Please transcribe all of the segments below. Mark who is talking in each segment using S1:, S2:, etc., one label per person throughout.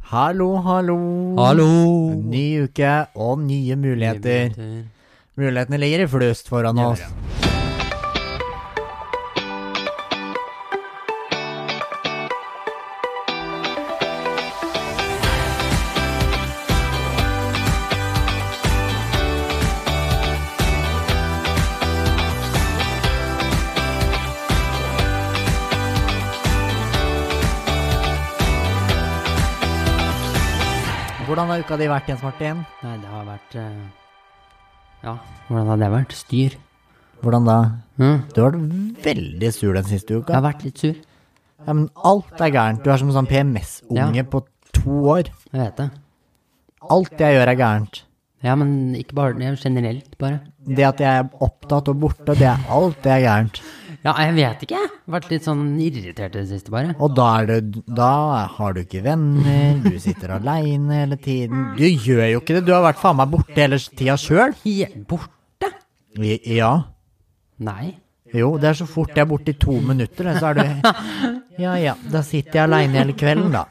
S1: Hallo, hallo.
S2: Hallo!
S1: Ny uke og nye muligheter. Mulighetene ligger i flust foran oss. Hvordan har uka di vært, Jens Martin?
S2: Nei, det har vært eh, Ja, hvordan har det vært? Styr.
S1: Hvordan da?
S2: Mm.
S1: Du har vært veldig sur den siste
S2: Jeg
S1: uka.
S2: har vært litt sur.
S1: Ja, men alt er gærent. Du er som en sånn PMS-unge
S2: Ja.
S1: på to år.
S2: Jeg vet det.
S1: Alt jeg gjør er gærent.
S2: Ja, men ikke bare det, generelt, bare.
S1: Det at jeg er opptatt og borte, det er alt det er gærent.
S2: Ja, jeg vet ikke, jeg. Vært litt sånn irritert i det siste, bare.
S1: Og da, er det, da har du ikke venner, du sitter aleine hele tiden. Du gjør jo ikke det, du har vært faen meg borte hele tida sjøl.
S2: He- Borte?
S1: Ja.
S2: Nei.
S1: Jo, det er så fort jeg er borte i to minutter, så er du Ja ja, da sitter jeg aleine hele kvelden, da.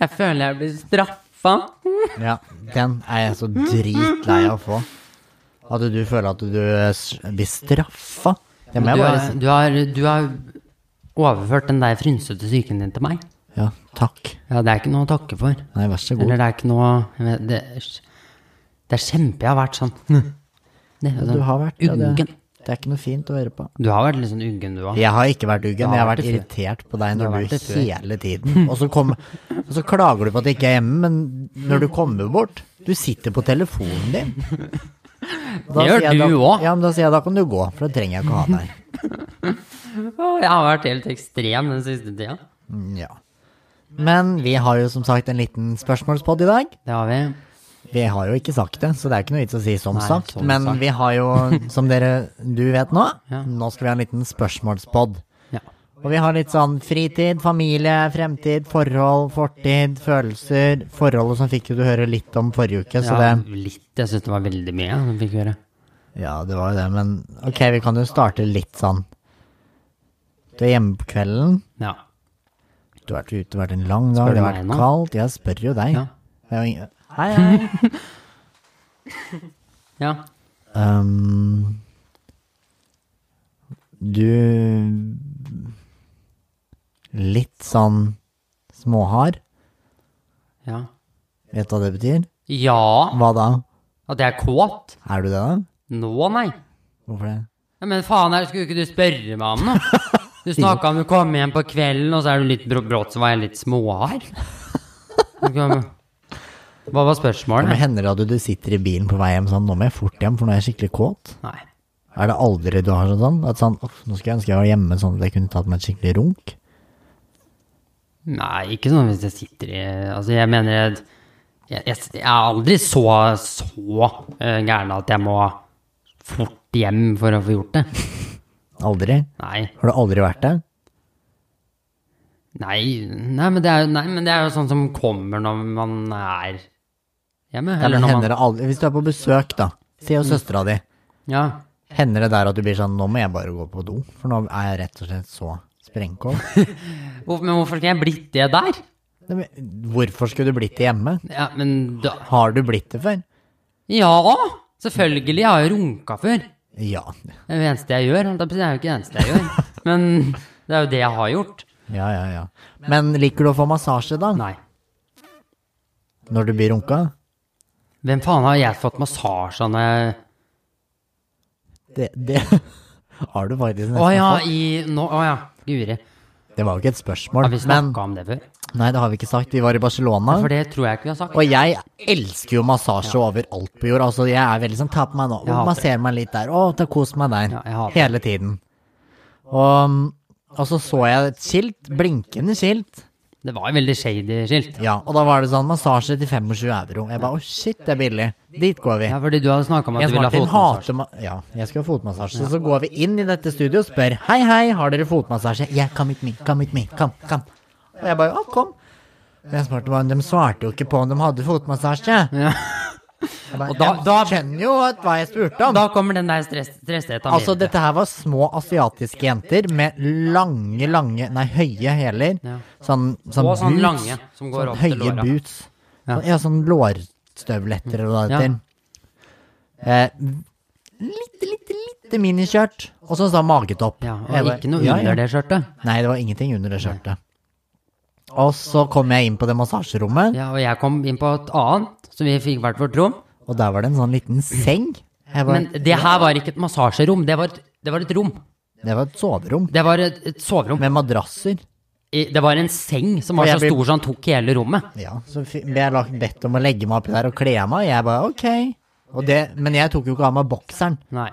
S2: Jeg føler jeg blir straffa.
S1: Ja, den er jeg så dritlei av å få. At du føler at du eh, s- blir straffa. Det må
S2: Du,
S1: jeg bare
S2: har-
S1: si.
S2: du, har, du har overført den der frynsete psyken din til meg.
S1: Ja, takk.
S2: Ja, det er ikke noe å takke for.
S1: Nei, vær så god.
S2: Eller det er ikke noe jeg vet, Det, er- det er kjempe jeg har vært sånn. Det er
S1: Du
S2: sånn
S1: har vært ja, det.
S2: uggen.
S1: Det er ikke noe fint å høre på.
S2: Du har vært litt sånn uggen, du òg.
S1: Jeg har ikke vært uggen,
S2: har
S1: jeg har
S2: vært
S1: vært
S2: det før.
S1: irritert på deg
S2: har
S1: når
S2: vært
S1: du
S2: det før.
S1: hele tiden. Og så, kom, og så klager du på at jeg ikke er hjemme, men når du kommer bort Du sitter på telefonen din. Da
S2: Det gjør
S1: sier jeg da-
S2: du også.
S1: Ja, men da sier jeg da kan du gå, for da trenger jeg ikke ha deg.
S2: Jeg har vært helt ekstrem den siste tida.
S1: Mm, Ja. Men vi har jo som sagt en liten spørsmålspod i dag.
S2: Det har vi.
S1: Vi har jo ikke sagt det, så det er ikke noe vits å si som
S2: Nei,
S1: sagt.
S2: som
S1: men
S2: sagt.
S1: vi har jo, som dere du vet nå,
S2: Ja.
S1: nå skal vi ha en liten spørsmålspod.
S2: Ja.
S1: Og vi har litt sånn fritid, familie, fremtid, forhold, fortid, følelser. Forholdet som fikk jo du høre litt om forrige uke, så
S2: ja,
S1: det
S2: litt. Jeg syns det var veldig mye hun fikk høre.
S1: Ja, det var jo det, men ok, vi kan jo starte litt sånn. Du er hjemme på kvelden,
S2: Ja.
S1: du har vært ute, det har vært en lang dag,
S2: Spør
S1: det
S2: du
S1: har
S2: meg
S1: vært
S2: nå?
S1: kaldt. Jeg spør jo deg.
S2: Ja.
S1: Det er jo ingen- Hei, hei.
S2: ja.
S1: Um, du Litt sånn småhard.
S2: Ja.
S1: Vet du hva det betyr?
S2: Ja!
S1: Hva da?
S2: At jeg er kåt?
S1: Er du det, da?
S2: Nå, nei.
S1: Hvorfor det?
S2: Ja, men faen, her skulle ikke du spørre meg om det? Du snakka om du kom hjem på kvelden, og så er du litt brå- brått så var jeg litt småhard. Du kan- Hva var
S1: Men
S2: spørsmålet?
S1: hender det at du sitter i bilen på vei hjem sånn, nå må jeg fort hjem, for nå er jeg skikkelig kåt?
S2: Nei.
S1: Er det aldri du har sånn? At sånn, uff, nå skulle jeg ønske jeg var hjemme sånn at jeg kunne tatt meg et skikkelig runk?
S2: Nei, ikke sånn hvis jeg sitter i Altså, jeg mener jeg, jeg, jeg, jeg er aldri så, så eh, gæren at jeg må fort hjem for å få gjort det.
S1: Aldri?
S2: Nei.
S1: Har du aldri vært det?
S2: Nei, nei, men, det er, jo- nei men det er jo sånn som kommer når man er hjemme.
S1: Ja,
S2: Eller
S1: men
S2: når
S1: hender
S2: man Mm.
S1: det aldri? Hvis du er på besøk, da. Si hos søstera di.
S2: Ja.
S1: Hender det der at du blir sånn, nå må jeg bare gå på do, for nå er jeg rett og slett så sprengkål?
S2: Hvor, men hvorfor skulle jeg blitt det der?
S1: Nei, men Hvorfor skulle du blitt det hjemme?
S2: Ja, men da
S1: Har du blitt det før?
S2: Ja! Selvfølgelig, jeg har jo runka før.
S1: Ja.
S2: Det er jo det eneste jeg gjør. holdt jeg på å si. Det er jo ikke det eneste jeg gjør. Men det er jo det jeg har gjort.
S1: Ja, ja, ja. Men liker du å få massasje da?
S2: Nei.
S1: Når du blir runka?
S2: Hvem faen har jeg fått massasje av når jeg
S1: Det, det har du faktisk nesten
S2: Å ja,
S1: fått.
S2: i nå, Å ja, guri.
S1: Det var jo ikke et spørsmål.
S2: Har vi
S1: Men
S2: snakka om det før?
S1: nei, det har vi ikke sagt. Vi var i Barcelona.
S2: For det tror jeg ikke vi har sagt.
S1: Og jeg elsker jo massasje overalt på jord. Altså, jeg er veldig sånn ta på meg nå.
S2: Jeg hater
S1: Masser meg litt der. Å, ta kos meg der.
S2: Ja, jeg hater det.
S1: Hele tiden. Og, og så så jeg et skilt, blinkende skilt.
S2: Det var et veldig shady skilt.
S1: Ja, og da var det sånn massasje til 25 euro. Jeg bare å shit, det er billig. Dit går vi.
S2: Ja, fordi du hadde snakka om at
S1: Jens
S2: du ville ha
S1: Martin
S2: fotmassasje.
S1: hater ma Ja, jeg skal ha fotmassasje. Så går vi inn i dette studioet og spør Hei, hei, har dere fotmassasje? Yeah, come with me, come with me, come, come. Og jeg bare Å, kom. Jens Martin bare De svarte jo ikke på om de hadde fotmassasje.
S2: Og da, da,
S1: Jeg skjønner jo at hva jeg spurte om.
S2: da kommer den der stress, stresstheten min.
S1: Altså, dette her var små asiatiske jenter med lange, lange Nei, høye hæler.
S2: Ja.
S1: Sånn, sånn
S2: Og sånn
S1: boots.
S2: lange, som går opp til
S1: høye
S2: låra.
S1: boots.
S2: Ja.
S1: Ja, sånn lårstøvletter og
S2: Ja.
S1: noe til. Eh, litt, litt, litt miniskjørt. Og så sånn magetopp.
S2: Ja,
S1: Jeg
S2: og
S1: bare,
S2: ikke noe
S1: ja, ja.
S2: under det skjørtet.
S1: Nei, det var ingenting under det skjørtet. Og så kom jeg inn på det massasjerommet,
S2: Ja, og jeg kom inn på et annet, så vi fikk hvert vårt rom.
S1: og der var det en sånn liten seng. Jeg var,
S2: Men det her var ikke et massasjerom, det var et, det var et rom.
S1: det var et soverom
S2: Det var et, et soverom.
S1: med madrasser.
S2: I- Det var en seng som
S1: Og
S2: var
S1: jeg
S2: så
S1: blir-
S2: stor så han tok hele rommet.
S1: Ja, så fi- ble jeg lagt, bedt om å legge meg oppi der og kle av meg, og jeg bare ok. Og det, men jeg tok jo ikke av meg bokseren.
S2: Nei.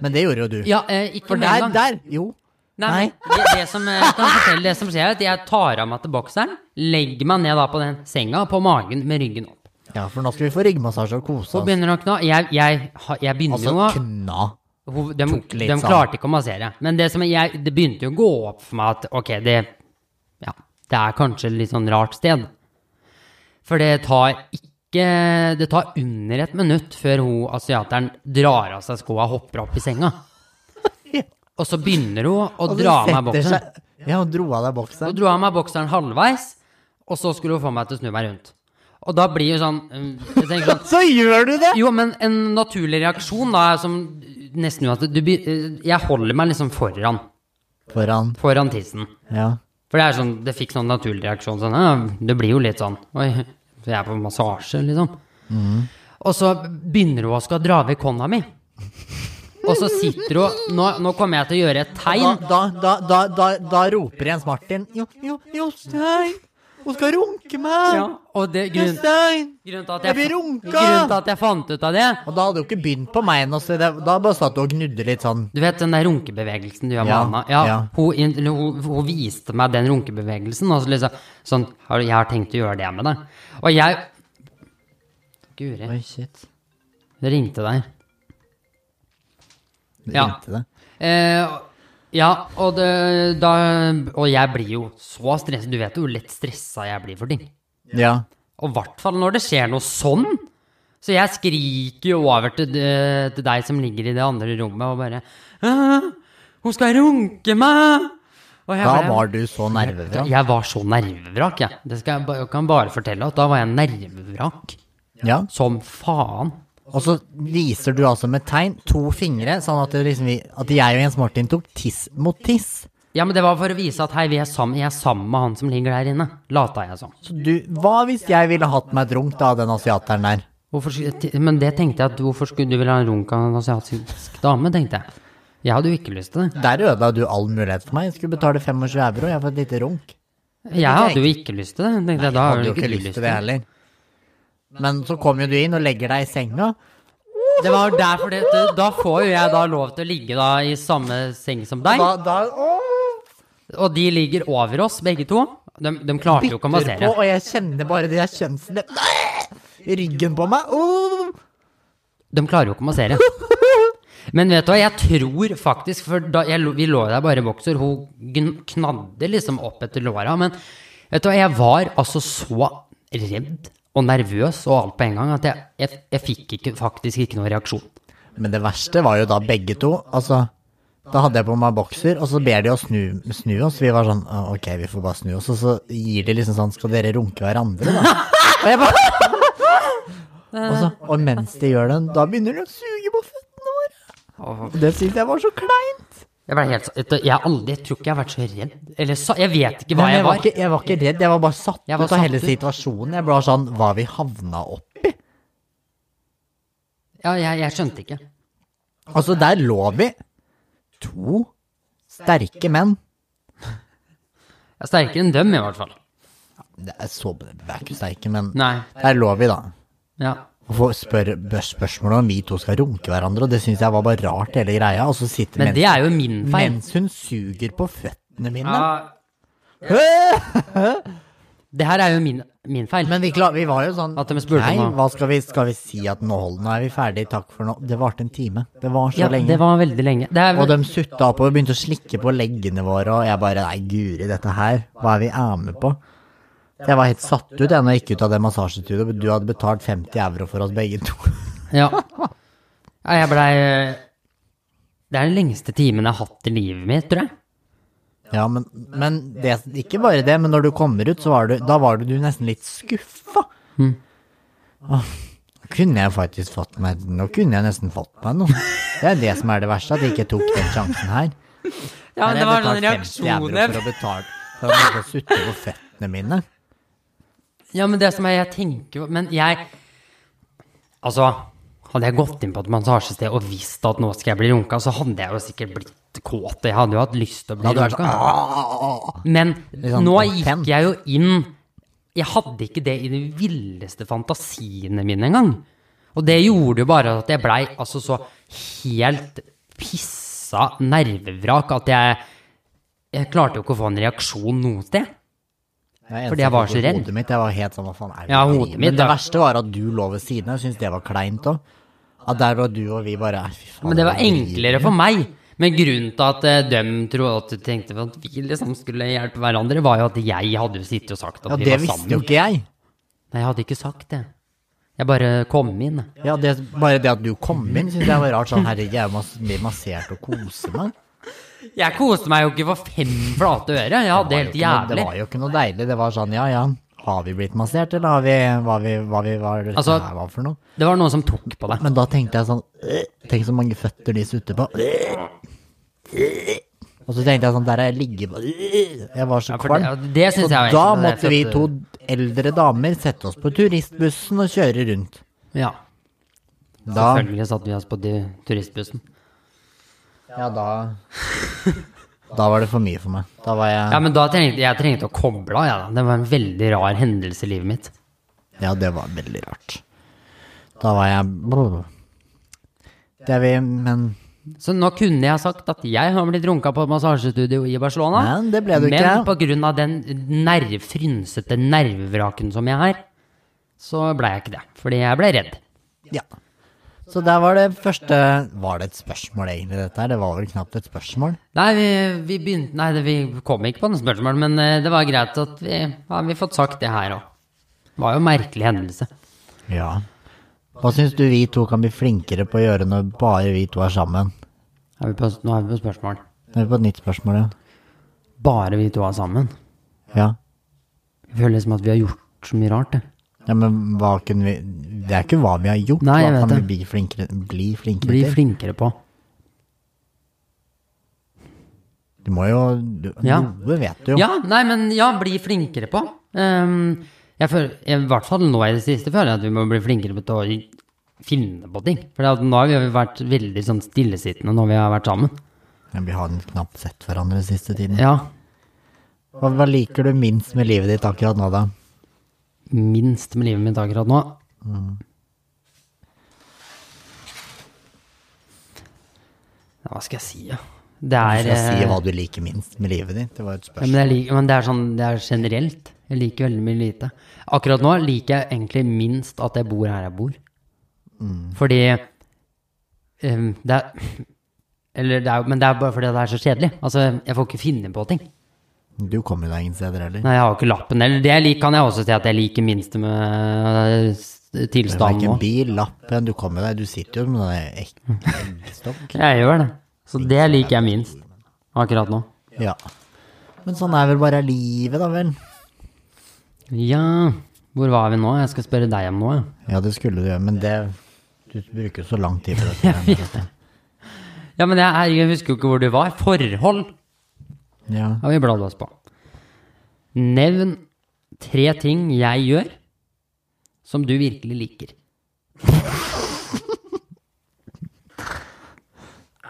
S1: Men det gjorde jo du.
S2: Ja, eh, ikke
S1: For
S2: med
S1: der,
S2: en gang.
S1: der, jo.
S2: Nei, men Det, det som eh, jeg kan fortelle, det som skjer, er at jeg tar av meg til bokseren, legger meg ned da på den senga, på magen med ryggen opp.
S1: Ja, for nå skal vi få ryggmassasje og kose
S2: Så
S1: oss.
S2: begynner det å kna. Jeg, jeg, ha- jeg begynner
S1: Altså
S2: jo å
S1: kna.
S2: Ho- De,
S1: Tok litt
S2: de
S1: sånn.
S2: klarte ikke å massere. Men det, som jeg, det begynte jo å gå opp for meg at ok, det, ja, det er kanskje et litt sånn rart sted. For det tar ikke Det tar under et minutt før hun asiateren drar av seg skoa og hopper opp i senga. Og så begynner hun å
S1: Og så
S2: dra av meg
S1: setter
S2: bokseren.
S1: seg- Ja, hun dro av deg
S2: Hun
S1: bokseren.
S2: dro av meg bokseren halvveis, og så skulle hun få meg til å snu meg rundt. Og da blir jo sånn mm, Jeg tenker sånn
S1: Så gjør du det!
S2: jo, men en naturlig reaksjon da er som nesten at du, be- eh, Jeg holder meg liksom foran,
S1: Foran.
S2: foran tissen.
S1: Ja.
S2: For det er sånn, det fikk sånn naturlig reaksjon. Sånn, ja, det blir jo litt sånn Oi, jeg er på massasje, liksom. Og så begynner hun å skal dra vekk hånda mi. Og så sitter hun Nå, nå kommer jeg til å gjøre et
S1: Da,
S2: tegn.
S1: da, da, da, da, da roper Jens Martin Jo, jo, Jostein! Hun skal runke meg!
S2: Ja, og det, grunn,
S1: Jostein!
S2: grunnen, til at
S1: Jeg
S2: jeg,
S1: blir runka!
S2: grunnen til at jeg fant ut av det
S1: Og da hadde hun ikke begynt på meg ennå, så det- da bare satt hun og gnudde litt sånn.
S2: Du vet den der runkebevegelsen du gjør med
S1: Ja,
S2: Anna? Ja,
S1: ja.
S2: Hun, in- eller hun, hun viste meg den runkebevegelsen. Og så liksom, sånn har du- Jeg har tenkt å gjøre det med deg. Og jeg Guri,
S1: Oi, shit.
S2: det ringte der.
S1: Det
S2: Ja.
S1: ringte det.
S2: Eh, ja, og det, da Og jeg blir jo så stressa. Du vet jo hvor lett stressa jeg blir for ting.
S1: Ja.
S2: Og i hvert fall når det skjer noe sånn. Så jeg skriker jo over til, eh, til deg som ligger i det andre rommet, og bare «Æ, Hun skal runke meg! Og jeg
S1: Da
S2: bare-
S1: var du så nervevrak.
S2: Jeg var så nervevrak, jeg. Det skal jeg, ba- jeg kan bare fortelle at da var jeg nervevrak
S1: Ja.
S2: som faen.
S1: Og så viser du altså med tegn to fingre, sånn at, det liksom, vi- at jeg og Jens Martin tok tiss mot tiss.
S2: Ja, men det var for å vise at hei, vi er sammen, jeg er sammen med han som ligger der inne. Lata jeg som.
S1: Så du, hva hvis jeg ville hatt meg drunk da, den asiateren der?
S2: Hvorfor, skulle- ti- men det tenkte jeg at hvorfor skulle du ville ha en runk av en asiatisk dame, tenkte jeg. Jeg hadde jo ikke lyst til det.
S1: Der ødela du all mulighet for meg. Jeg skulle betale 25 euro, jeg får et lite runk.
S2: Jeg hadde jo ikke lyst til det. tenkte jeg, da har
S1: Hadde jo
S2: vel
S1: ikke
S2: du
S1: lyst til det heller. Men så kom jo du inn og legger deg i senga.
S2: Det var derfor det, det Da får jo jeg da lov til å ligge da i samme seng som deg.
S1: Da, da åh,
S2: Og de ligger over oss, begge to. De, de klarte jo ikke å
S1: bytter på,
S2: massere.
S1: og jeg kjenner bare de der kjønnsleppene i ryggen på meg. Åh.
S2: De klarer jo ikke å massere. Men vet du hva, jeg tror faktisk For da jeg, lo- vi lå der bare i bokser, hun gn- knadde liksom opp etter låra. Men vet du hva, jeg var altså så redd og nervøs og alt på en gang at jeg, jeg, jeg fikk ikke, faktisk ikke noen reaksjon.
S1: Men det verste var jo da begge to. Altså, da hadde jeg på meg bokser, og så ber de oss snu, snu oss. Vi var sånn, «Å, ok, vi får bare snu oss. Og så gir de liksom sånn, skal dere runke hverandre da? Og jeg bare... Og, så, og mens de gjør den, da begynner de å suge på føttene våre.
S2: Og
S1: Og Det synes jeg var så kleint.
S2: Jeg ble helt så- vet du, Jeg har aldri, jeg tror ikke jeg har vært så redd. Eller så, jeg vet ikke hva
S1: Men jeg,
S2: jeg
S1: var
S2: var.
S1: ikke, jeg var ikke redd, jeg var bare satt
S2: Jeg var
S1: ut av hele
S2: satt ut.
S1: situasjonen. Jeg ble bare sånn, hva vi havna opp.
S2: Ja, jeg, jeg skjønte ikke.
S1: Altså, der lå vi. To sterke menn.
S2: Jeg er sterkere enn dem, i hvert fall.
S1: Det er så, det er ikke sterke, men
S2: Nei.
S1: der lå vi da.
S2: Ja.
S1: Og få spør, bør- spørsmålet om vi to skal runke hverandre, og det syns jeg var bare rart, hele greia. Og så sitter
S2: Men
S1: mens,
S2: det er jo min feil.
S1: mens hun suger på føttene mine.
S2: Ja, det her er jo min, min feil.
S1: Men vi, klar, vi var jo sånn
S2: At de spurte
S1: Nei,
S2: om-
S1: hva skal vi, skal vi si at nå hold, nå er vi ferdig, takk for nå. Det varte en time. Det var så
S2: ja,
S1: lenge.
S2: det var veldig lenge. Det er,
S1: Og de sutta oppover, begynte å slikke på leggene våre, og jeg bare Nei, guri, dette her, hva er vi er med på? Jeg var helt satt ut jeg når jeg gikk ut av det massasjestudioet. Du hadde betalt 50 euro for oss begge to.
S2: Ja. ja jeg blei Det er den lengste timen jeg har hatt i livet mitt, tror jeg.
S1: Ja, men, men det, ikke bare det, men når du kommer ut, så var du, da var du, du nesten litt skuffa.
S2: Hmm.
S1: Åh, Nå kunne jeg faktisk fått meg Nå kunne jeg nesten fått meg noe. Det er det som er det verste, at jeg ikke tok den sjansen her.
S3: Ja,
S1: Her
S3: det
S1: har
S3: var
S1: jeg
S3: noen reaksjoner.
S1: betalt 50 euro For å betale for å måtte sutte på føttene mine.
S2: Ja, men det som jeg, jeg tenker Men jeg Altså, hadde jeg gått inn på et massasjested og visst at nå skal jeg bli runka, så hadde jeg jo sikkert blitt kåt. Jeg hadde jo hatt lyst til
S1: Da
S2: å bli
S1: hadde du vært
S2: runka.
S1: sånn
S2: Men
S1: Litt sånn
S2: nå
S1: antent.
S2: gikk jeg jo inn Jeg hadde ikke det i de villeste fantasiene mine engang. Og det gjorde jo bare at jeg blei altså så helt pissa nervevrak at jeg Jeg klarte jo ikke å få en reaksjon noe sted.
S1: Det
S2: Fordi jeg var så redd.
S1: Hodet mitt, jeg var helt sånn, hva faen er det?
S2: Ja,
S1: med
S2: hodet
S1: deg?
S2: mitt,
S1: Men det
S2: da.
S1: verste var at du lå ved siden av, jeg syns det var kleint òg. At der var du og vi bare fy faen,
S2: Men det var
S1: hva driver
S2: enklere
S1: vi
S2: for meg. Men grunnen til at eh, dem trodde at du tenkte at vi liksom skulle hjelpe hverandre, var jo at jeg hadde jo sittet og sagt at
S1: Ja,
S2: vi
S1: det
S2: var
S1: visste jo
S2: sammen.
S1: ikke jeg.
S2: Nei, jeg hadde ikke sagt det. Jeg bare kom inn.
S1: Ja, det, Bare det at du kom inn, syns jeg var rart. Sånn, herregud, jeg må bli massert og kose meg.
S2: Jeg koste meg jo ikke for fem flate øre. Jeg hadde det
S1: var jo
S2: helt
S1: ikke noe-
S2: jævlig.
S1: Det var jo ikke noe deilig. Det var sånn, ja ja, har vi blitt massert, eller har vi hva vi, hva vi var dette
S2: Altså-
S1: her var for noe?
S2: Det var noen som tok på deg.
S1: Men da tenkte jeg sånn, øh, tenk så mange føtter de sutter på. Øh, øh. Og så tenkte jeg sånn, der har jeg ligget på. øh. Jeg var så
S2: Ja, for det-
S1: kvalm.
S2: ja, det synes
S1: så
S2: jeg var
S1: da
S2: ekkelt, det
S1: måtte vi
S2: føtter-
S1: to eldre damer sette oss på turistbussen og kjøre rundt.
S2: Ja,
S1: Da,
S2: selvfølgelig satt vi oss på de, turistbussen.
S1: ja, da Da var det for mye for meg. Da var jeg
S2: Ja, men da trengte jeg trengte å koble av, jeg da. Det var en veldig rar hendelse i livet mitt.
S1: Ja, det var veldig rart. Da var jeg Det er vi, men
S2: Så nå kunne jeg sagt at jeg har blitt runka på et massasjestudio i Barcelona.
S1: Men det ble du
S2: men
S1: ikke.
S2: på grunn av den nerv, frynsete nervevraken som jeg er, så ble jeg ikke det. Fordi jeg ble redd.
S1: Ja. Så der var det første Var det et spørsmål, egentlig, dette her? Det var vel knapt et spørsmål?
S2: Nei, vi, vi begynte Nei, det- vi kom ikke på noe spørsmål, men eh, det var greit at vi har vi fått sagt det her òg. Det var jo en merkelig hendelse.
S1: Ja. Hva syns du vi to kan bli flinkere på å gjøre når bare vi to er sammen?
S2: Er vi på, nå er vi på spørsmål.
S1: Nå er vi på et nytt spørsmål, ja.
S2: Bare vi to er sammen.
S1: Ja,
S2: Jeg føler liksom at vi har gjort så mye rart, det.
S1: ja men hva kunne vi Det er ikke hva vi har gjort,
S2: Nei, jeg
S1: hva
S2: vet
S1: kan
S2: det.
S1: vi bli flinkere, bli flinkere
S2: Bli
S1: til?
S2: flinkere på.
S1: Du må jo du,
S2: Ja.
S1: Noe vet du jo.
S2: Ja, nei, men ja, bli flinkere på. Ehm, jeg føler, I hvert fall nå i det siste føler jeg at vi må bli flinkere på å finne på ting. For at nå har vi jo vært veldig sånn stillesittende når vi har vært sammen.
S1: Men vi har knapt sett hverandre den siste tiden.
S2: Ja,
S1: Hva, hva liker du minst med livet ditt akkurat nå, da?
S2: minst med livet mitt akkurat nå. Ja, hva skal jeg si, da?
S1: Du
S2: Det er
S1: skal si
S2: eh,
S1: hva du liker minst med livet ditt. Det var et
S2: ja, men,
S1: spørsmål.
S2: jeg liker, men det er sånn det er generelt. Jeg liker veldig mye lite. Akkurat nå liker jeg egentlig minst at jeg bor her jeg bor.
S1: Mm.
S2: Fordi eh, det er, eller det er, jo- Men det er bare fordi det er så kjedelig. Altså, jeg får ikke finne på ting.
S1: Du kommer deg ingen steder heller.
S2: Nei, jeg har jo ikke lappen. Eller det jeg liker, kan jeg også si at jeg liker minst med eh,
S1: Du har
S2: tilstanden
S1: ikke
S2: nå.
S1: bil, lappen, du kommer deg Du sitter jo med den ek-
S2: Mm.
S1: eggestokk.
S2: Jeg gjør det. Så det liker jeg minst akkurat nå.
S1: Ja. Men sånn er vel bare livet, da vel?
S2: Ja, hvor var vi nå? Jeg skal spørre deg om noe. jeg.
S1: Ja, det skulle du gjøre, men det Du bruker jo så lang tid på dette. her, dette.
S2: Ja, men jeg, herregud, jeg husker jo ikke hvor du var. Forhold
S1: Ja.
S2: har vi bladd oss på. Nevn tre ting jeg gjør som du virkelig liker.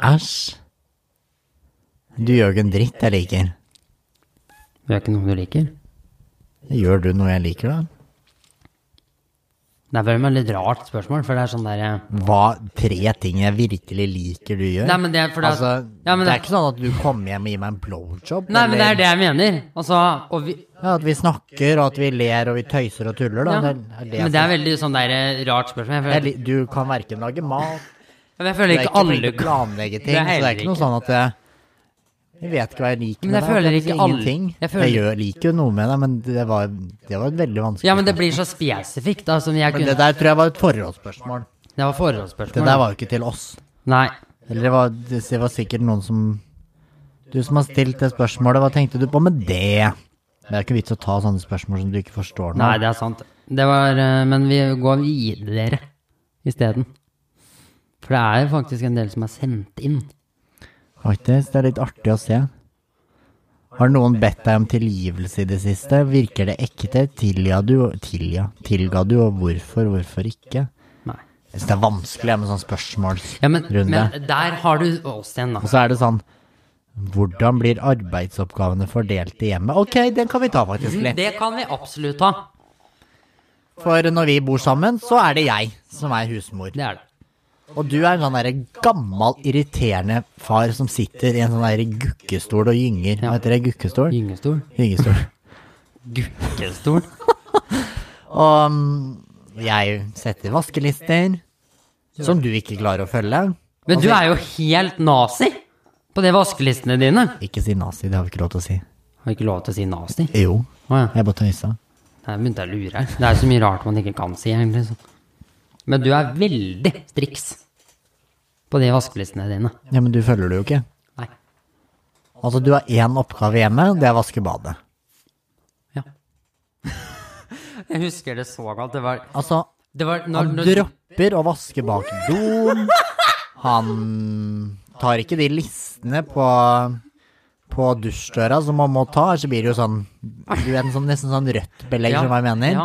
S1: Æsj. Du gjør jo ikke en dritt jeg liker.
S2: Det er ikke noe du liker.
S1: Gjør du noe jeg liker, da?
S2: Det er vel et litt rart spørsmål, for det er sånn derre
S1: Hva tre ting jeg virkelig liker du gjør?
S2: Nei, men det er fordi at-
S1: altså,
S2: Ja, men
S1: det
S2: det-
S1: er ikke sånn at du kommer hjem og gir meg en blowjob.
S2: Nei, men det
S1: eller-
S2: er det jeg mener. Altså, og vi,
S1: Ja, at vi snakker, og at vi ler, og vi tøyser og tuller, da.
S2: ja.
S1: Det er- det er altså-
S2: Men det er veldig sånn der eh, rart spørsmål. Jeg
S1: for- jeg
S2: føler,
S1: li- Du kan verken lage mat,
S2: men jeg
S1: du er
S2: føler
S1: ikke
S2: ikke
S1: flink
S2: alle
S1: til å planlegge ting,
S2: Det
S1: så
S2: er
S1: det er ikke
S2: heller
S1: noe sånn at jeg, jeg vet ikke hva jeg liker
S2: Men jeg
S1: med
S2: føler
S1: det.
S2: ikke alle-
S1: ingenting.
S2: jeg
S1: Jeg,
S2: føler-
S1: gjør, liker jo noe med det, men det var, det var et veldig vanskelig
S2: Ja, men det blir så spesifikt, da, som jeg
S1: Men Det
S2: kunne
S1: der tror jeg var et forholdsspørsmål.
S2: Det var
S1: Det
S2: forhåndsspørsmål.
S1: der var jo ikke til oss.
S2: Nei.
S1: Eller det var, det var sikkert noen som Du som har stilt det spørsmålet, hva tenkte du på med det? Det er ikke vits å ta sånne spørsmål som du ikke forstår nå.
S2: Nei, det er sant. Det var, eh, men vi går videre isteden. For det er jo faktisk en del som er sendt inn.
S1: Faktisk, det er litt artig å se. Har noen bedt deg om tilgivelse i det siste? Virker det ekte? Tilga du? Tilga? Tilga du, og hvorfor? Hvorfor ikke?
S2: Nei.
S1: Jeg synes det er vanskelig med sånne spørsmålsrunde.
S2: Ja, men, men der har du oss igjen, da.
S1: Og så er det sånn Hvordan blir arbeidsoppgavene fordelt i hjemmet? Ok, den kan vi ta faktisk litt.
S2: Mm, Det kan vi absolutt ha.
S1: For når vi bor sammen, så er det jeg som er husmor.
S2: Det er det.
S1: Og du er en sånn derre gammal, irriterende far som sitter i en sånn derre gukkestol og gynger. Hva heter det? Gukkestol?
S2: Gyngestol.
S1: Gyngestol.
S2: Gukkestol.
S1: Og mm, jeg setter vaskelister, som du ikke klarer å følge.
S2: Men du er jo helt nazi på de vaskelistene dine.
S1: Ikke si nazi, det har vi ikke lov til å si.
S2: Har ikke lov til å si nazi.
S1: Jo,
S2: Å ja.
S1: jeg bare tøysa.
S2: Der begynte jeg å lure. her. Det er så mye rart man ikke kan si, egentlig. så. Men du er veldig striks på de vaskelistene dine.
S1: Ja, men du følger det jo ikke.
S2: Nei.
S1: Altså, du har én oppgave hjemme, det er å vaske badet.
S2: Ja. Jeg husker det så godt. Det var,
S1: Altså,
S2: det var når,
S1: han
S2: når,
S1: dropper å vaske bak doen. Han tar ikke de listene på på dusjdøra som man må ta, så blir det jo sånn Du vet, sånn, nesten sånn rødt belegg, som jeg mener.
S2: Ja.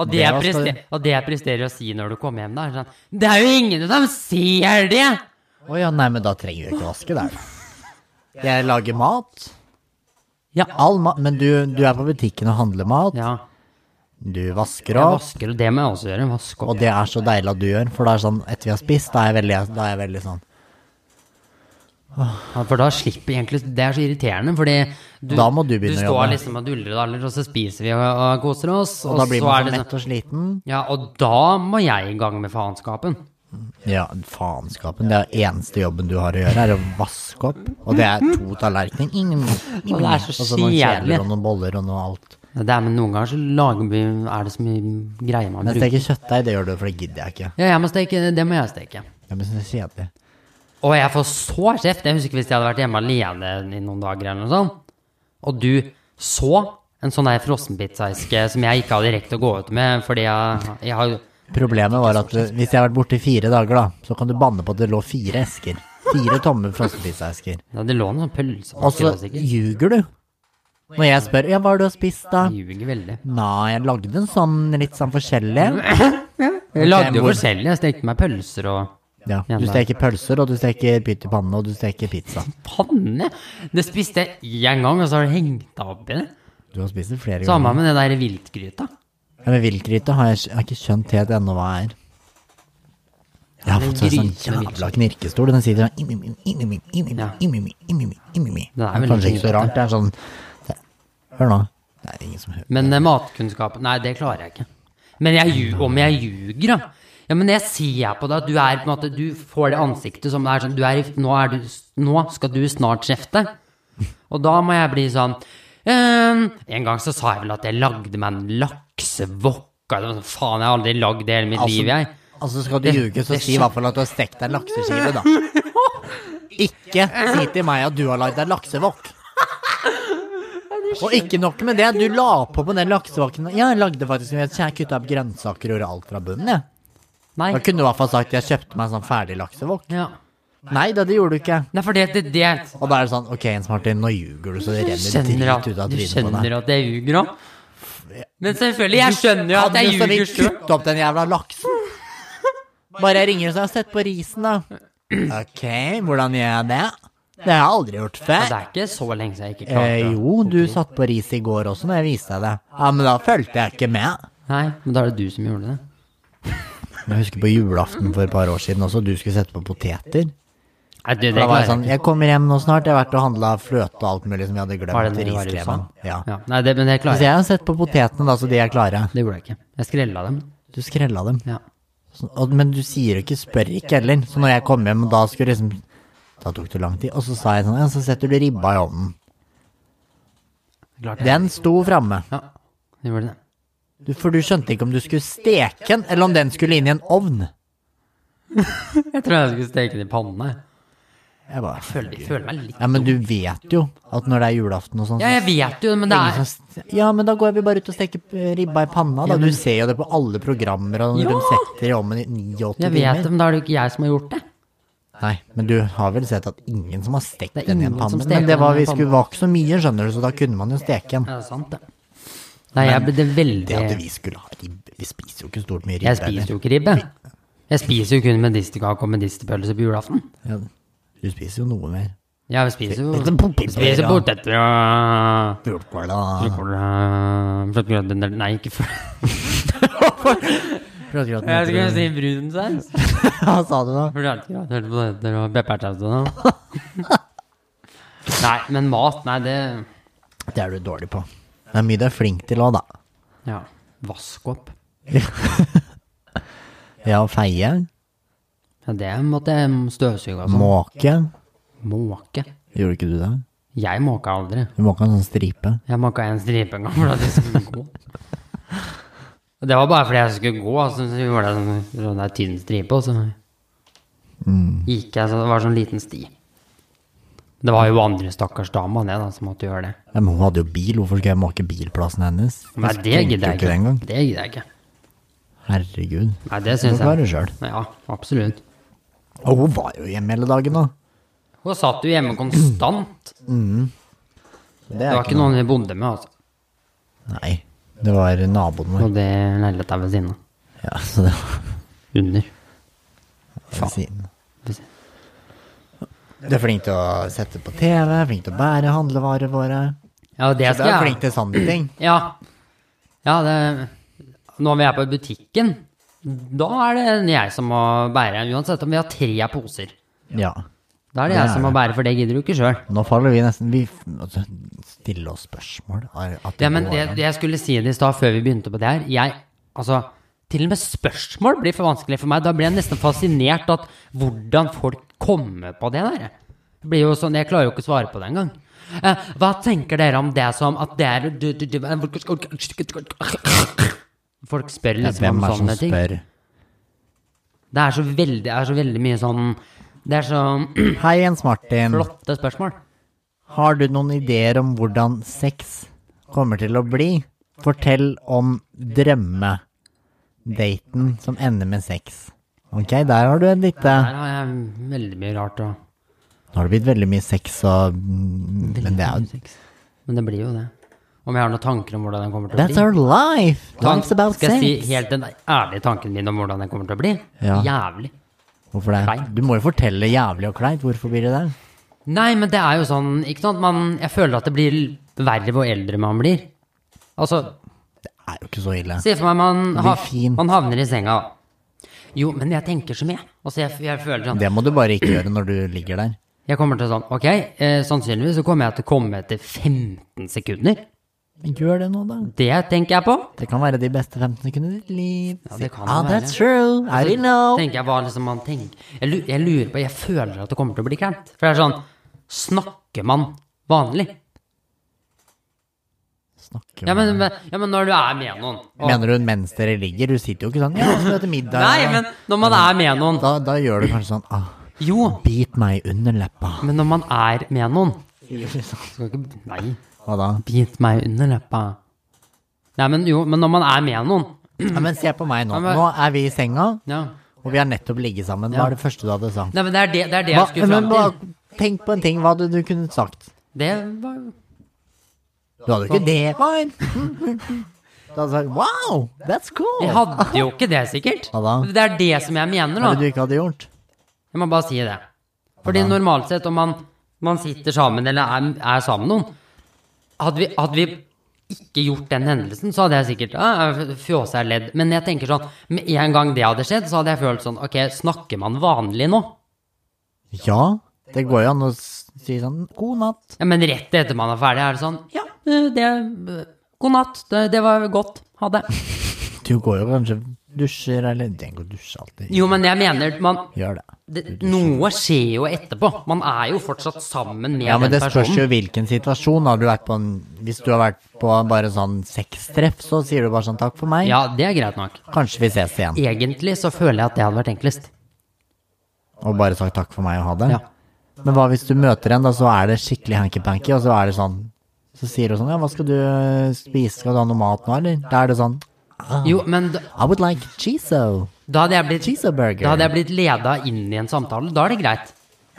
S2: Og det,
S1: Det
S2: jeg
S1: var skal-
S2: prester, og det jeg presterer å si når du kommer hjem, da, er sånn Det er jo ingen som ser det!
S1: Å ja, nei, men da trenger du ikke vaske, da. Jeg lager mat.
S2: Ja.
S1: All ma men du, du er på butikken og handler mat.
S2: ja.
S1: Du vasker
S2: Jeg
S1: opp.
S2: vasker, og det må jeg også gjøre. Vaske
S1: Og
S2: opp.
S1: det er så deilig at du gjør, for da er det sånn etter vi har spist, da er jeg veldig, da er jeg veldig sånn
S2: Ja, For da slipper jeg egentlig Det er så irriterende, fordi du,
S1: Da må du begynne å
S2: står
S1: jobbe.
S2: liksom og duller og daller, og så spiser vi og, og koser oss, og,
S1: Og da blir
S2: så
S1: man
S2: er
S1: så
S2: det
S1: mett
S2: sånn
S1: og sliten.
S2: Ja, og da må jeg i gang med faenskapen.
S1: Ja, faenskapen. Det er eneste jobben du har å gjøre, er å vaske opp. Og det er to tallerkener. Ingen, ingen.
S2: det er så
S1: Og så noen
S2: kjedelig.
S1: kjeler og noen boller og noe alt.
S2: Det er, men noen ganger så lager vi Er det så mye greier man
S1: Men
S2: bruker?
S1: steke kjøttdeig, det gjør du, for det gidder jeg ikke.
S2: Ja, jeg må steke, det må jeg steke.
S1: Jeg synes det er kjedelig.
S2: Og jeg får så kjeft. Jeg husker hvis jeg hadde vært hjemme alene i noen dager, eller noe sånt, og du så en sånn der frossenpizzaeske som jeg ikke hadde rekt å gå ut med fordi jeg, jeg har
S1: Problemet var at eh, hvis jeg har vært borte i fire dager, da, så kan du banne på at det lå fire esker. Fire tomme frossenpizzaesker.
S2: ja, Det lå en sånn
S1: Og
S2: pølsepakke
S1: så
S2: der sikkert.
S1: ljuger du. Når jeg spør ja, hva har du har spist, da?
S2: Jeg Ljuger veldig.
S1: Nei, jeg lagde en sånn litt sånn forskjellig.
S2: Jeg lagde jo
S1: hvor-
S2: forskjellig. Jeg stekte meg pølser og
S1: Ja, du steker pølser, og du steker pytt i panne, og du steker pizza.
S2: panne. Det spiste jeg én gang, og så har det hengt deg opp i det.
S1: Du har spist det flere ganger.
S2: Samme med det der viltgryta.
S1: Ja, men viltgryte har jeg, jeg har ikke skjønt helt ennå hva er. Jeg har
S2: men
S1: fått en sånn
S2: gryte med
S1: jævla knirkestol. Den sitter sånn imi, imi, imi, imi,
S2: Ja.
S1: imi, imi, imi.
S2: Den
S1: Det
S2: er
S1: er
S2: veldig
S1: kanskje ikke så
S2: knirkete.
S1: rart. Det er sånn det, Hør nå. Det er ingen som hører.
S2: Men eh, matkunnskapen Nei, det klarer jeg ikke. Men jeg, lju- om jeg ljuger, da? Ja, men jeg ser på deg at du er på en måte Du får det ansiktet som det er sånn du er, i- nå, er du, nå skal du snart kjefte. Og da må jeg bli sånn ehm, En gang så sa jeg vel at jeg lagde meg en laksevokka. Det var sånn, Faen, jeg har aldri lagd det hele mitt
S1: Altså-
S2: liv, jeg.
S1: Altså, skal du ljuge, så
S2: det
S1: si i hvert fall at du har stekt deg en lakseskive, da. Ikke si til meg at du har lagd deg laksevokk. Og ikke nok med det, du la på på den laksevokken Ja, jeg lagde faktisk Jeg kutta opp grønnsaker og gjorde alt fra bunnen, jeg.
S2: Nei.
S1: Da kunne du i hvert fall sagt jeg kjøpte meg en sånn ferdig laksevokk.
S2: Ja.
S1: Nei da, det gjorde du ikke.
S2: Nei, for det, det, det
S1: Og da er det sånn, ok, Jens Martin, nå ljuger du så det
S2: Du
S1: renner
S2: skjønner at,
S1: drit ut av
S2: du
S1: trynet på deg.
S2: skjønner at jeg ljuger òg. Men selvfølgelig, jeg skjønner jo at
S1: Kan
S2: jeg
S1: du så
S2: ljuger
S1: vidt
S2: sjøl.
S1: kutte opp den jævla laksen? Bare jeg ringer og sier, jeg har sett på risen, da. Ok, hvordan gjør jeg det? Det har jeg aldri gjort
S2: Det
S1: før.
S2: er ikke så lenge siden jeg ikke klarte
S1: Eh,
S2: det.
S1: jo, du satt på ris i går også når jeg viste deg det. Ja, men da fulgte jeg ikke med.
S2: Nei, men da er det du som gjorde det.
S1: Jeg husker på julaften for et par år siden også, du skulle sette på poteter.
S2: Nei, du,
S1: Da
S2: det
S1: var jeg
S2: klarer
S1: sånn,
S2: jeg ikke.
S1: jeg kommer hjem nå snart, jeg har vært og handla fløte og alt mulig som vi hadde
S2: Var det
S1: glemt i
S2: når du var i USA?
S1: riskremen. Ja.
S2: Ja. Nei, det, men det
S1: Så
S2: klarer jeg.
S1: jeg har sett på potetene, da, så de er klare.
S2: Det gjorde jeg ikke. Jeg skrella dem.
S1: Du skrella dem.
S2: Ja.
S1: Sånn, og, men du sier jo ikke 'spør ikke' heller. Så når jeg kom hjem, da skulle liksom Da tok det lang tid. Og så sa jeg sånn, ja, så setter du ribba i ovnen.
S2: Klart det.
S1: Den sto framme.
S2: Ja, det gjorde det.
S1: Du- For du skjønte ikke om du skulle steke den, eller om den skulle inn i en ovn.
S2: Jeg tror jeg skulle steke det i panne.
S1: Jeg bare
S2: Føler, jeg føler meg litt
S1: Ja, men du vet jo at når det er julaften og sånn
S2: Ja, jeg vet jo, men det er
S1: Ja, men da går vi bare ut og steker eh, ribba i panna, da. Du ser jo det på alle programmer, og når
S2: Ja.
S1: de setter i ovnen i 89
S2: Jeg vet det,
S1: timer.
S2: men da er det jo ikke jeg som har gjort det.
S1: Nei, men du har vel sett at ingen som har stekt
S2: Det er
S1: den i en
S2: ingen som
S1: panne?
S2: steker
S1: Men
S2: den
S1: det
S2: i
S1: var,
S2: en
S1: vi
S2: panne.
S1: skulle, var ikke så mye, skjønner du, så da kunne man jo steke en.
S2: Ja, det er sant, det. Nei, jeg ble det
S1: Det at
S2: veldig
S1: vi skulle ha ribbe Vi spiser jo ikke stort mye ribbe.
S2: Jeg spiser jo ikke ribbe. Jeg spiser jo kun medisterkake og medisterpølse på julaften.
S1: eller? Ja, du spiser jo noe mer.
S2: Ja, vi spiser jo
S1: Spiser poteter,
S2: Spiser
S1: ja.
S2: poteter og
S1: Pulkål
S2: og
S1: og
S2: kål, øh, fløtegrøt, Nei, ikke for
S1: Fløtegrøt
S2: Jeg
S1: med-
S2: skulle si brunsaus.
S1: Hva sa du da?
S2: Fløtegrøt, hørte på det, og peppersaus og noe. Nei, men mat, nei, det
S1: Det er du dårlig på. Det er mye du er flink til òg, da.
S2: Ja. Vask opp.
S1: Ja, feie,
S2: Ja, det måtte jeg støvsuge og sånn.
S1: måke.
S2: Måke.
S1: Gjorde ikke du det?
S2: Jeg måka aldri.
S1: Du måka en sånn stripe.
S2: Jeg måka en stripe en gang for at jeg skulle gå. Og Det var bare fordi jeg skulle gå, altså, så gjorde jeg sånn, sånn der tynn stripe, og så
S1: Mm.
S2: gikk jeg, så det var sånn liten sti. Det var jo andre stakkars dama det da, som måtte gjøre det.
S1: Ja, men hun hadde jo bil, hvorfor skulle jeg måke bilplassen hennes?
S2: Nei,
S1: Jeg
S2: det
S1: tenkte
S2: gidder
S1: jo det
S2: jeg ikke.
S1: engang.
S2: Det gidder jeg ikke.
S1: Herregud.
S2: Nei, det
S1: Hun
S2: syns
S1: var det
S2: jeg.
S1: sjøl.
S2: Ja, absolutt.
S1: Og hun var jo hjemme hele dagen, da.
S2: Hun satt jo hjemme konstant.
S1: Det
S2: Det
S1: er
S2: var ikke noen vi bodde med, altså.
S1: Nei. Det var naboen vår.
S2: Og det leiligheta ved siden av.
S1: Ja, så det var
S2: Under.
S1: ved siden.
S2: Ved siden.
S1: Du er flink til å sette på TV, flink til å bære handlevarene våre.
S2: Ja, det
S1: Så du
S2: skal
S1: er
S2: jeg.
S1: flink til sånne ting.
S2: Ja. ja det, når vi er på butikken, da er det jeg som må bære. Uansett om vi har tre poser.
S1: Ja.
S2: Da er det
S1: Det
S2: jeg
S1: er
S2: som må
S1: det.
S2: bære, for det gidder du ikke sjøl.
S1: Nå faller vi nesten Vi f- altså, stiller oss spørsmål. Er- At det
S2: Ja, men
S1: går
S2: det,
S1: an.
S2: det jeg skulle si det i stad, før vi begynte på det her jeg, altså, Til og med spørsmål blir for vanskelig for meg. Da blir jeg nesten fascinert at hvordan folk kommer på det der. Det blir jo sånn, Jeg klarer jo ikke å svare på det engang. Eh, hva tenker dere om det som at det er du- du- du- Folk spør
S1: Ja,
S2: liksom
S1: Hvem
S2: om
S1: er det som
S2: sånne ting.
S1: spør?
S2: Det er så veldig, det er så veldig mye sånn Det er så
S1: Hei, Jens Martin.
S2: flotte spørsmål.
S1: Har du noen ideer om hvordan sex kommer til å bli? Fortell om drømmedaten som ender med sex. Ok, der har du et lite
S2: Der har jeg veldig mye rart å
S1: Nå har det blitt veldig mye sex og mm, Men det er jo
S2: Men det blir jo det. Om jeg har noen tanker om hvordan den kommer til å
S1: That's
S2: bli?
S1: our life!
S2: Tank-
S1: Life's about
S2: skal jeg si
S1: sex.
S2: helt den ærlige tanken min om hvordan den kommer til å bli?
S1: Ja.
S2: Jævlig.
S1: Hvorfor det?
S2: Kleint.
S1: Du må jo fortelle jævlig og kleint. Hvorfor blir det det?
S2: Nei, men det er jo sånn, ikke sant? Man, jeg føler at det blir verre hvor eldre man blir. Altså,
S1: Det er jo ikke så ille.
S2: se for meg man,
S1: blir
S2: hav,
S1: fint.
S2: man havner i senga. Jo, men jeg tenker så mye. Altså, jeg, jeg føler sånn
S1: Det må du bare ikke gjøre når du ligger der.
S2: Jeg kommer til sånn, ok, eh, sannsynligvis så kommer jeg til å komme etter 15 sekunder.
S1: Men Gjør det nå, da.
S2: Det tenker jeg på.
S1: Det kan være de beste 15 sekundene i ditt liv.
S2: Ja, det kan
S1: ah,
S2: det Altså,
S1: that's true. I
S2: Så
S1: will know.
S2: tenker jeg hva liksom man tenker. Jeg, lu- jeg lurer på, jeg føler at det kommer til å bli kleint. For det er sånn, snakker man vanlig?
S1: Snakker
S2: Ja,
S1: man-
S2: men, men- ja, men når du er med noen. og-
S1: Mener du mens dere ligger? Du sitter jo ikke sånn Ja, så etter middag
S2: nei, men når man er med noen.
S1: da, da gjør du kanskje sånn ah,
S2: Jo,
S1: Bit meg under leppa.
S2: men når man er med noen.
S1: Hva
S2: Skal ikke, nei,
S1: sånn. da?
S2: bit meg under leppa. Nei, men jo, men når man er med noen.
S1: Ja, men se på meg nå.
S2: Ja, men-
S1: Nå er vi i senga,
S2: Ja.
S1: og vi har nettopp ligget sammen. Hva er det første du hadde sagt?
S2: Nei, men det er det, det, er det jeg
S1: Hva,
S2: skulle
S1: men
S2: fram
S1: bare
S2: til.
S1: tenk på en ting. Hva hadde du kunne sagt?
S2: Det var jo...
S1: Du hadde jo ikke det. Fine. Du hadde sagt wow, that's cool.
S2: Jeg hadde jo ikke det, sikkert.
S1: Hva da?
S2: Det er det som jeg mener,
S1: Hva er det
S2: da.
S1: du ikke hadde gjort?
S2: Jeg må bare si det. Fordi normalt sett, om man, man sitter sammen eller er, er sammen med noen hadde vi, hadde vi ikke gjort den hendelsen, så hadde jeg sikkert ah, fjåsa ledd. Men jeg tenker sånn, med en gang det hadde skjedd, så hadde jeg følt sånn Ok, snakker man vanlig nå?
S1: Ja, det går jo an å s- si sånn god natt.
S2: Ja, men rett etter man er ferdig, er det sånn Ja, det God natt. Det, det var godt. Ha det.
S1: Du går jo kanskje dusjer, eller Du trenger ikke å dusje alltid.
S2: Jo, men jeg mener man
S1: Gjør det.
S2: det, Noe skjer jo etterpå. Man er jo fortsatt sammen med
S1: Ja, men
S2: den
S1: det spørs
S2: personen.
S1: jo hvilken situasjon. Har du vært på en, hvis du har vært på bare sånn sextreff, så sier du bare sånn takk for meg.
S2: Ja, det er greit nok.
S1: Kanskje vi ses igjen.
S2: Egentlig så føler jeg at det hadde vært enklest.
S1: og bare sagt takk for meg og ha det.
S2: Ja.
S1: Men hva hvis du møter en, da, så er det skikkelig hanky-panky, og så er det sånn Så sier du sånn Ja, hva skal du eh, spise? Skal du ha noe mat nå, eller? Da er det sånn
S2: Jo, men da,
S1: I would like cheeso.
S2: da hadde jeg blitt,
S1: Cheeseburger.
S2: da hadde jeg blitt leda inn i en samtale. Da er det greit.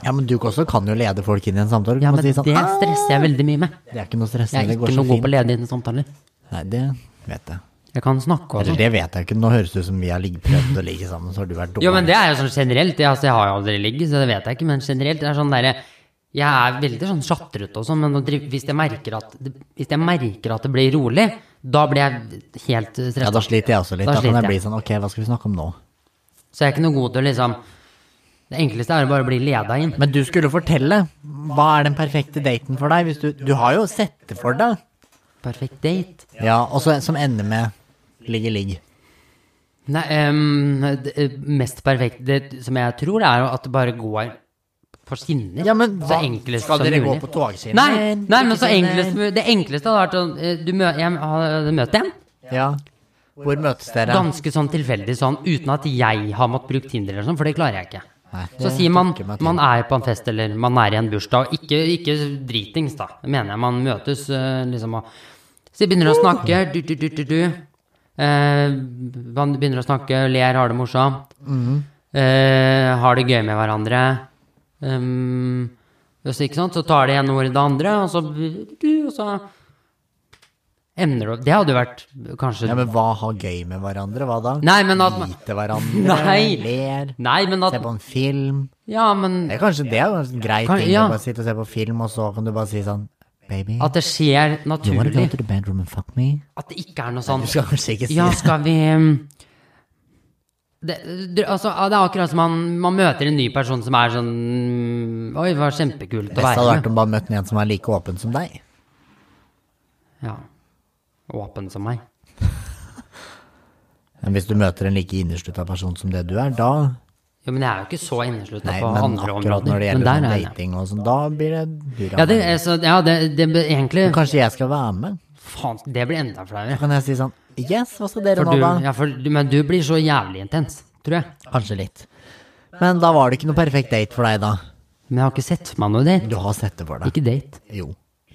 S1: Ja, men du også kan jo lede folk inn i en samtale. Du
S2: Ja,
S1: kan
S2: men
S1: si
S2: det
S1: sånn, «Ah,
S2: stresser jeg veldig mye med.
S1: det er ikke noe
S2: Jeg
S1: stressende.
S2: er
S1: Det går
S2: ikke
S1: så
S2: noe god på
S1: fint.
S2: å lede inn i samtaler.
S1: Nei, det vet jeg.
S2: Jeg kan snakke og
S1: Eller
S2: sånn.
S1: det vet jeg ikke. Nå høres det ut som vi har ligget- prøvd å ligge sammen, så har du vært dum.
S2: Jo, men det er jo sånn generelt. Jeg, altså, jeg har jo aldri ligget, så det vet jeg ikke. Men generelt det er sånn derre Jeg er veldig sånn sjatrete og sånn, men å drive- hvis jeg, merker at, det- hvis jeg merker at det blir rolig, da blir jeg helt stressa.
S1: Ja, da sliter jeg også litt.
S2: Da
S1: Da, kan
S2: sliter
S1: jeg bli
S2: jeg.
S1: sånn Ok, hva skal vi snakke om nå?
S2: Så jeg er ikke noe god til å liksom Det enkleste er å bare bli leda inn.
S1: Men du skulle fortelle. Hva er den perfekte daten for deg? Hvis du, du har jo sett det for deg.
S2: Perfekt date.
S1: Ja, og så en som ender med ligge-ligg.
S2: Nei, ehm, det eh, mest perfekte det som jeg tror, er at det bare går på skinner.
S1: Ja, men
S2: så
S1: hva-
S2: enklest
S1: skal
S2: som
S1: dere gå
S2: mulig.
S1: på togskinner?
S2: Nei, nei men så
S1: Ikke
S2: enklest, det enkleste hadde vært sånn eh, Du mø, jeg, har- møter en.
S1: Ja. Hvor møtes dere?
S2: Ganske sånn tilfeldig sånn, uten at jeg har måttet bruke Tinder eller sånn, for det klarer jeg ikke.
S1: Nei,
S2: Så
S1: det
S2: sier man
S1: tok ikke meg tid.
S2: man er på en fest eller man er i en bursdag, ikke, ikke dritings da, mener jeg man møtes eh, liksom og Så begynner å snakke, du, du, du, du, du. Eh, man begynner å snakke, ler, har det morsomt.
S1: Mhm.
S2: eh, har det gøy med hverandre. Um, så, ikke sant? så tar det ene ordet det andre, og så, du, og så emner det opp. Det hadde jo vært kanskje
S1: Ja, men hva har gøy med hverandre? Hva da?
S2: Nei, men at man
S1: Bite hverandre?
S2: Nei.
S1: Ler?
S2: Nei, men
S1: Se
S2: at
S1: på en film?
S2: Ja, men
S1: Det er kanskje det er jo en sånn grei
S2: Kan-
S1: ting.
S2: ja.
S1: å Bare sitte og se på film, og så kan du bare si sånn Baby,
S2: at det skjer
S1: you wanna go
S2: naturlig.
S1: to the bedroom and fuck me?
S2: At det ikke er noe sånn
S1: Du skal kanskje ikke si
S2: Ja,
S1: det.
S2: skal vi um, det, det, altså, ja, det er akkurat som man, man møter en ny person som er sånn Oi, det var kjempekult å
S1: Best hadde
S2: være
S1: vært
S2: med.
S1: om bare møtte en som er like åpen som deg.
S2: Ja. Åpen som meg.
S1: Men hvis du møter en like innerslutta person som det du er, da
S2: Jo, men jeg er jo ikke så inneslutta
S1: Nei,
S2: på
S1: men
S2: andre
S1: akkurat
S2: områder.
S1: når det
S2: Men
S1: gjelder
S2: der
S1: sånn
S2: er jeg.
S1: dating og sånn, da blir det dura.
S2: Ja, det, er så, ja, det, det blir egentlig
S1: Kanskje jeg skal være med?
S2: Faen, det blir enda flauere.
S1: Kan jeg si sånn Yes, hva skal dere
S2: For
S1: nå,
S2: du,
S1: da?
S2: ja, for, du- men du blir så jævlig intens, tror jeg.
S1: Kanskje litt. Men da var det ikke noe perfekt date for deg, da.
S2: Men jeg har ikke sett meg noe date.
S1: Du har sett det for deg.
S2: Ikke date.
S1: Jo.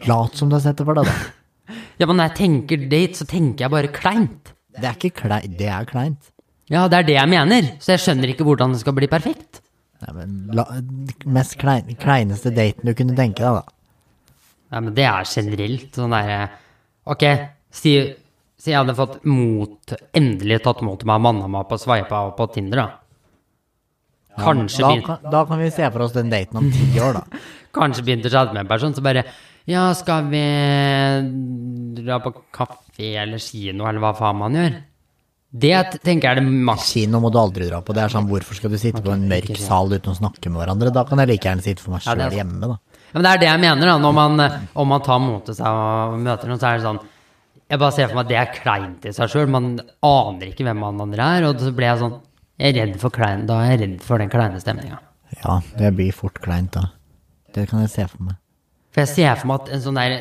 S1: Lat som du har sett det for deg, da.
S2: Ja, men når jeg tenker date, så tenker jeg bare kleint.
S1: Det er ikke kleint. Det er kleint.
S2: Ja, det er det jeg mener, så jeg skjønner ikke hvordan det skal bli perfekt.
S1: Nei, men la, mest klein, kleineste daten du kunne tenke deg, da.
S2: Nei, men det er generelt sånn derre Ok, si, si jeg hadde fått mot Endelig tatt mot meg mannamat på sveipa og på Tinder, da. Kanskje,
S1: Da
S2: begyn-
S1: kan, da kan vi se for oss den daten om ti år, da.
S2: kanskje begynte å chatte med en person, så bare Ja, skal vi dra på kafé eller kino, eller hva faen man gjør? Det tenker jeg er det maks
S1: Kino må du aldri dra på. Det er sånn, hvorfor skal du sitte på en mørk
S2: ikke det.
S1: sal uten å snakke med hverandre? Da kan jeg like gjerne sitte for meg
S2: Ja,
S1: sjøl
S2: det er sant.
S1: hjemme, da.
S2: Ja, men det er det jeg mener, da. Når man, eh, om man tar mot til seg og møter noen, så er det sånn Jeg bare ser for meg at det er kleint i seg sjøl. Man aner ikke hvem man andre er. Og så blir jeg sånn jeg er redd for klein, Da er jeg redd for den kleine stemninga.
S1: Ja, det blir fort kleint, da. Det kan jeg se for meg.
S2: For jeg ser for meg at en sånn der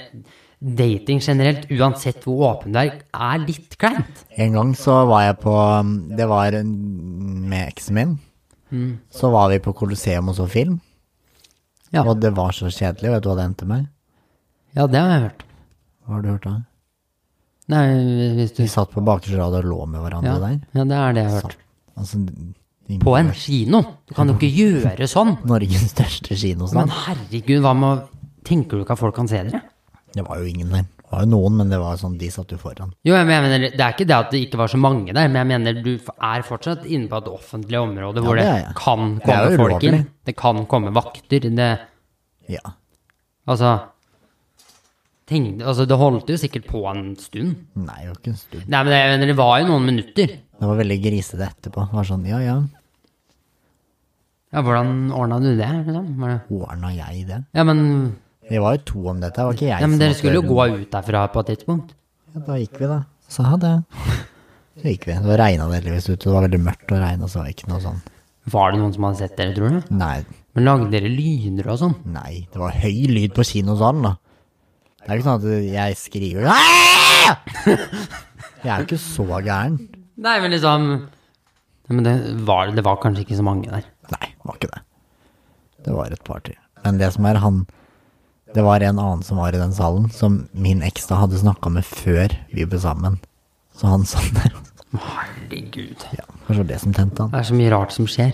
S2: dating generelt, uansett hvor åpen du er, er litt kleint.
S1: En gang så var jeg på um, Det var en- med eksen min.
S2: Mm.
S1: Så var vi på Colosseum og så film,
S2: Ja,
S1: og det var så kjedelig. Vet du hva det endte med?
S2: ja det har jeg hørt.
S1: Hva har du hørt da?
S2: Nei, hvis du
S1: Vi satt på bakerste rad og lå med hverandre
S2: ja,
S1: der.
S2: ja, det er det jeg har hørt.
S1: Altså, ingen-
S2: På en kino! Du kan jo ikke gjøre sånn!
S1: Norges største
S2: Men
S1: kinosal.
S2: herregud, hva med å Tenker du ikke at folk kan se dere?
S1: Det var jo ingen der. Det var jo noen, men det var sånn, de satt jo foran.
S2: Jo, jeg mener, Det er ikke det at det ikke var så mange der, men jeg mener du f- er fortsatt inne på et offentlig område hvor
S1: Ja,
S2: det,
S1: det er jeg.
S2: kan
S1: Det er
S2: komme
S1: jo
S2: folk inn.
S1: ulovlig.
S2: Det kan komme vakter. Det,
S1: Ja.
S2: altså, tenk, altså Det holdt jo sikkert på en stund.
S1: Nei, det var ikke en stund.
S2: Nei, men jeg mener, det var jo noen minutter.
S1: Det var veldig grisete etterpå. Det var sånn, ja ja,
S2: Ja, Hvordan ordna du det? Liksom? Var det-
S1: ordna jeg det?
S2: Ja, men,
S1: Vi var jo to om dette, det var ikke jeg
S2: ja, men
S1: som
S2: dere
S1: måtte
S2: skulle jo
S1: rundt.
S2: gå ut derfra på et tidspunkt.
S1: Ja, da gikk vi, da. Så ha det. Så gikk vi. Det regna det heldigvis ute. Det var veldig mørkt og regna, så det var ikke noe sånn
S2: Var det noen som hadde sett dere, tror du?
S1: Nei.
S2: Men Lagde dere lyder og sånn?
S1: Nei. Det var høy lyd på kinosalen, da. Det er jo ikke sånn at jeg skriker «Aah!» Jeg er jo ikke så gæren.
S2: Nei, men liksom Nei, men det var, det var kanskje ikke så mange der.
S1: Nei, det var ikke det. Det var et par til. Men det som er, han Det var en annen som var i den salen, som min eks da hadde snakka med før vi ble sammen. Så han satt der.
S2: Herregud.
S1: Ja, kanskje det var det som tente han.
S2: Det er så mye rart som skjer.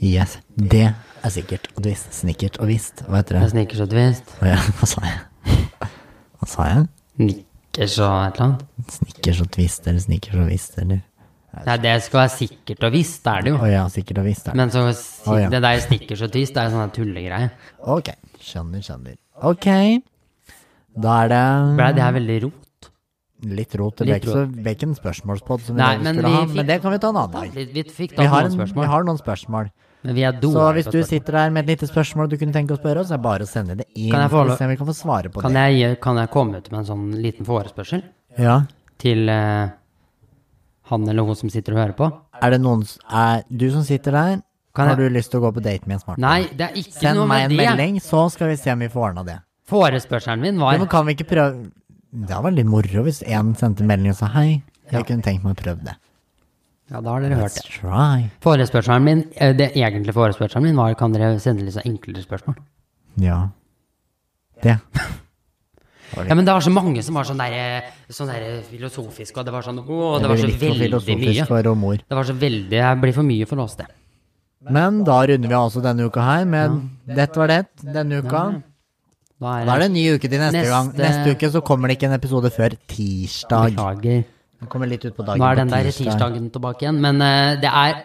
S1: Yes. Det er sikkert og visst. Snikkert og visst. Hva heter
S2: Jeg
S1: det?
S2: snikker så et visst.
S1: Hva, hva sa jeg? Hva sa jeg?
S2: Nikker så et eller annet.
S1: Snikkers og twist, eller snikkers og visst, eller
S2: Nei, det skal være sikkert og visst, det er det
S1: Å
S2: jo.
S1: ja, sikkert og visst. er det.
S2: Men så, si-
S1: Å, ja.
S2: det der snikker så tvist, det er sånne tullegreier.
S1: Ok, skjønner, skjønner. Ok, da er det
S2: Ble det her veldig rot?
S1: litt rot. Det ble
S2: Litt
S1: ikke så- ble ikke en spørsmålspod som vi
S2: Nei,
S1: Nei,
S2: men
S1: skulle
S2: vi
S1: ha,
S2: fikk-
S1: men det kan vi ta en annen dag.
S2: Vi, vi fikk
S1: Vi
S2: da
S1: har,
S2: noen
S1: en, vi
S2: spørsmål,
S1: har noen spørsmål.
S2: men vi er
S1: Så
S2: dårlige
S1: hvis
S2: på
S1: du
S2: spørsmål.
S1: sitter der med et lite spørsmål du kunne tenke å spørre oss, er det bare å sende det inn.
S2: Kan jeg få
S1: Skal vi
S2: lov-
S1: se om vi kan få svare på
S2: Kan
S1: det?
S2: jeg, gjøre- kan jeg komme ut med en sånn liten forespørsel
S1: Ja.
S2: til eh, han eller hun som sitter og hører på?
S1: Er det noen s- er, Du som sitter der,
S2: Kan
S1: har
S2: jeg-
S1: du lyst til å gå på date med en smartphone?
S2: Nei, det er ikke
S1: Send
S2: noe
S1: meg en
S2: med det.
S1: melding, så skal vi se om vi får ordna det.
S2: Forespørselen min
S1: Ja,
S2: var
S1: men kan vi ikke prøve Det hadde vært litt moro hvis én sendte en melding og sa hei, jeg kunne tenkt meg å prøve det.
S2: Ja, da har dere hørt
S1: Let's
S2: det.
S1: try.
S2: Forespørselen min, eh, det egentlige forespørselen min var kan dere sende litt sånn enklere spørsmål?
S1: Ja. Det.
S2: Ja, men det var så mange som var sånn derre sånn der filosofisk, og det var sånn Å, det var så
S1: Litt for
S2: veldig mye.
S1: filosofisk for romor.
S2: Det var så veldig Det blir for mye for oss, det.
S1: Men da runder vi altså denne uka her, men dette var det denne uka.
S2: Da
S1: Da er det en ny uke til neste,
S2: Neste-
S1: gang. Neste uke så kommer det ikke en episode før tirsdag.
S2: Beklager.
S1: Den kommer litt ut på dagen
S2: Nå er
S1: på
S2: den der tirsdagen tilbake igjen, men eh, det er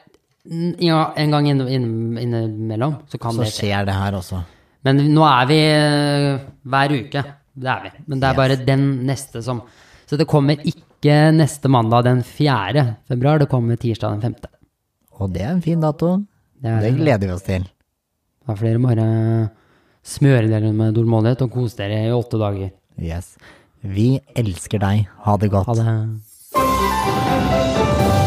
S2: n- ja, en gang inn- inn- innimellom, så kan
S1: Så
S2: det skje.
S1: skjer det her også.
S2: Men nå er vi eh, hver uke. Det er vi. Men det er bare den neste som Så det kommer ikke neste mandag den 4. februar, det kommer tirsdag den 5.
S1: Og det er en fin dato.
S2: Det er
S1: Det gleder vi oss til.
S2: Da får dere bare smøre dere med tålmodighet og kose dere i åtte dager.
S1: Yes. Vi elsker deg. Ha det godt.
S2: Ha det.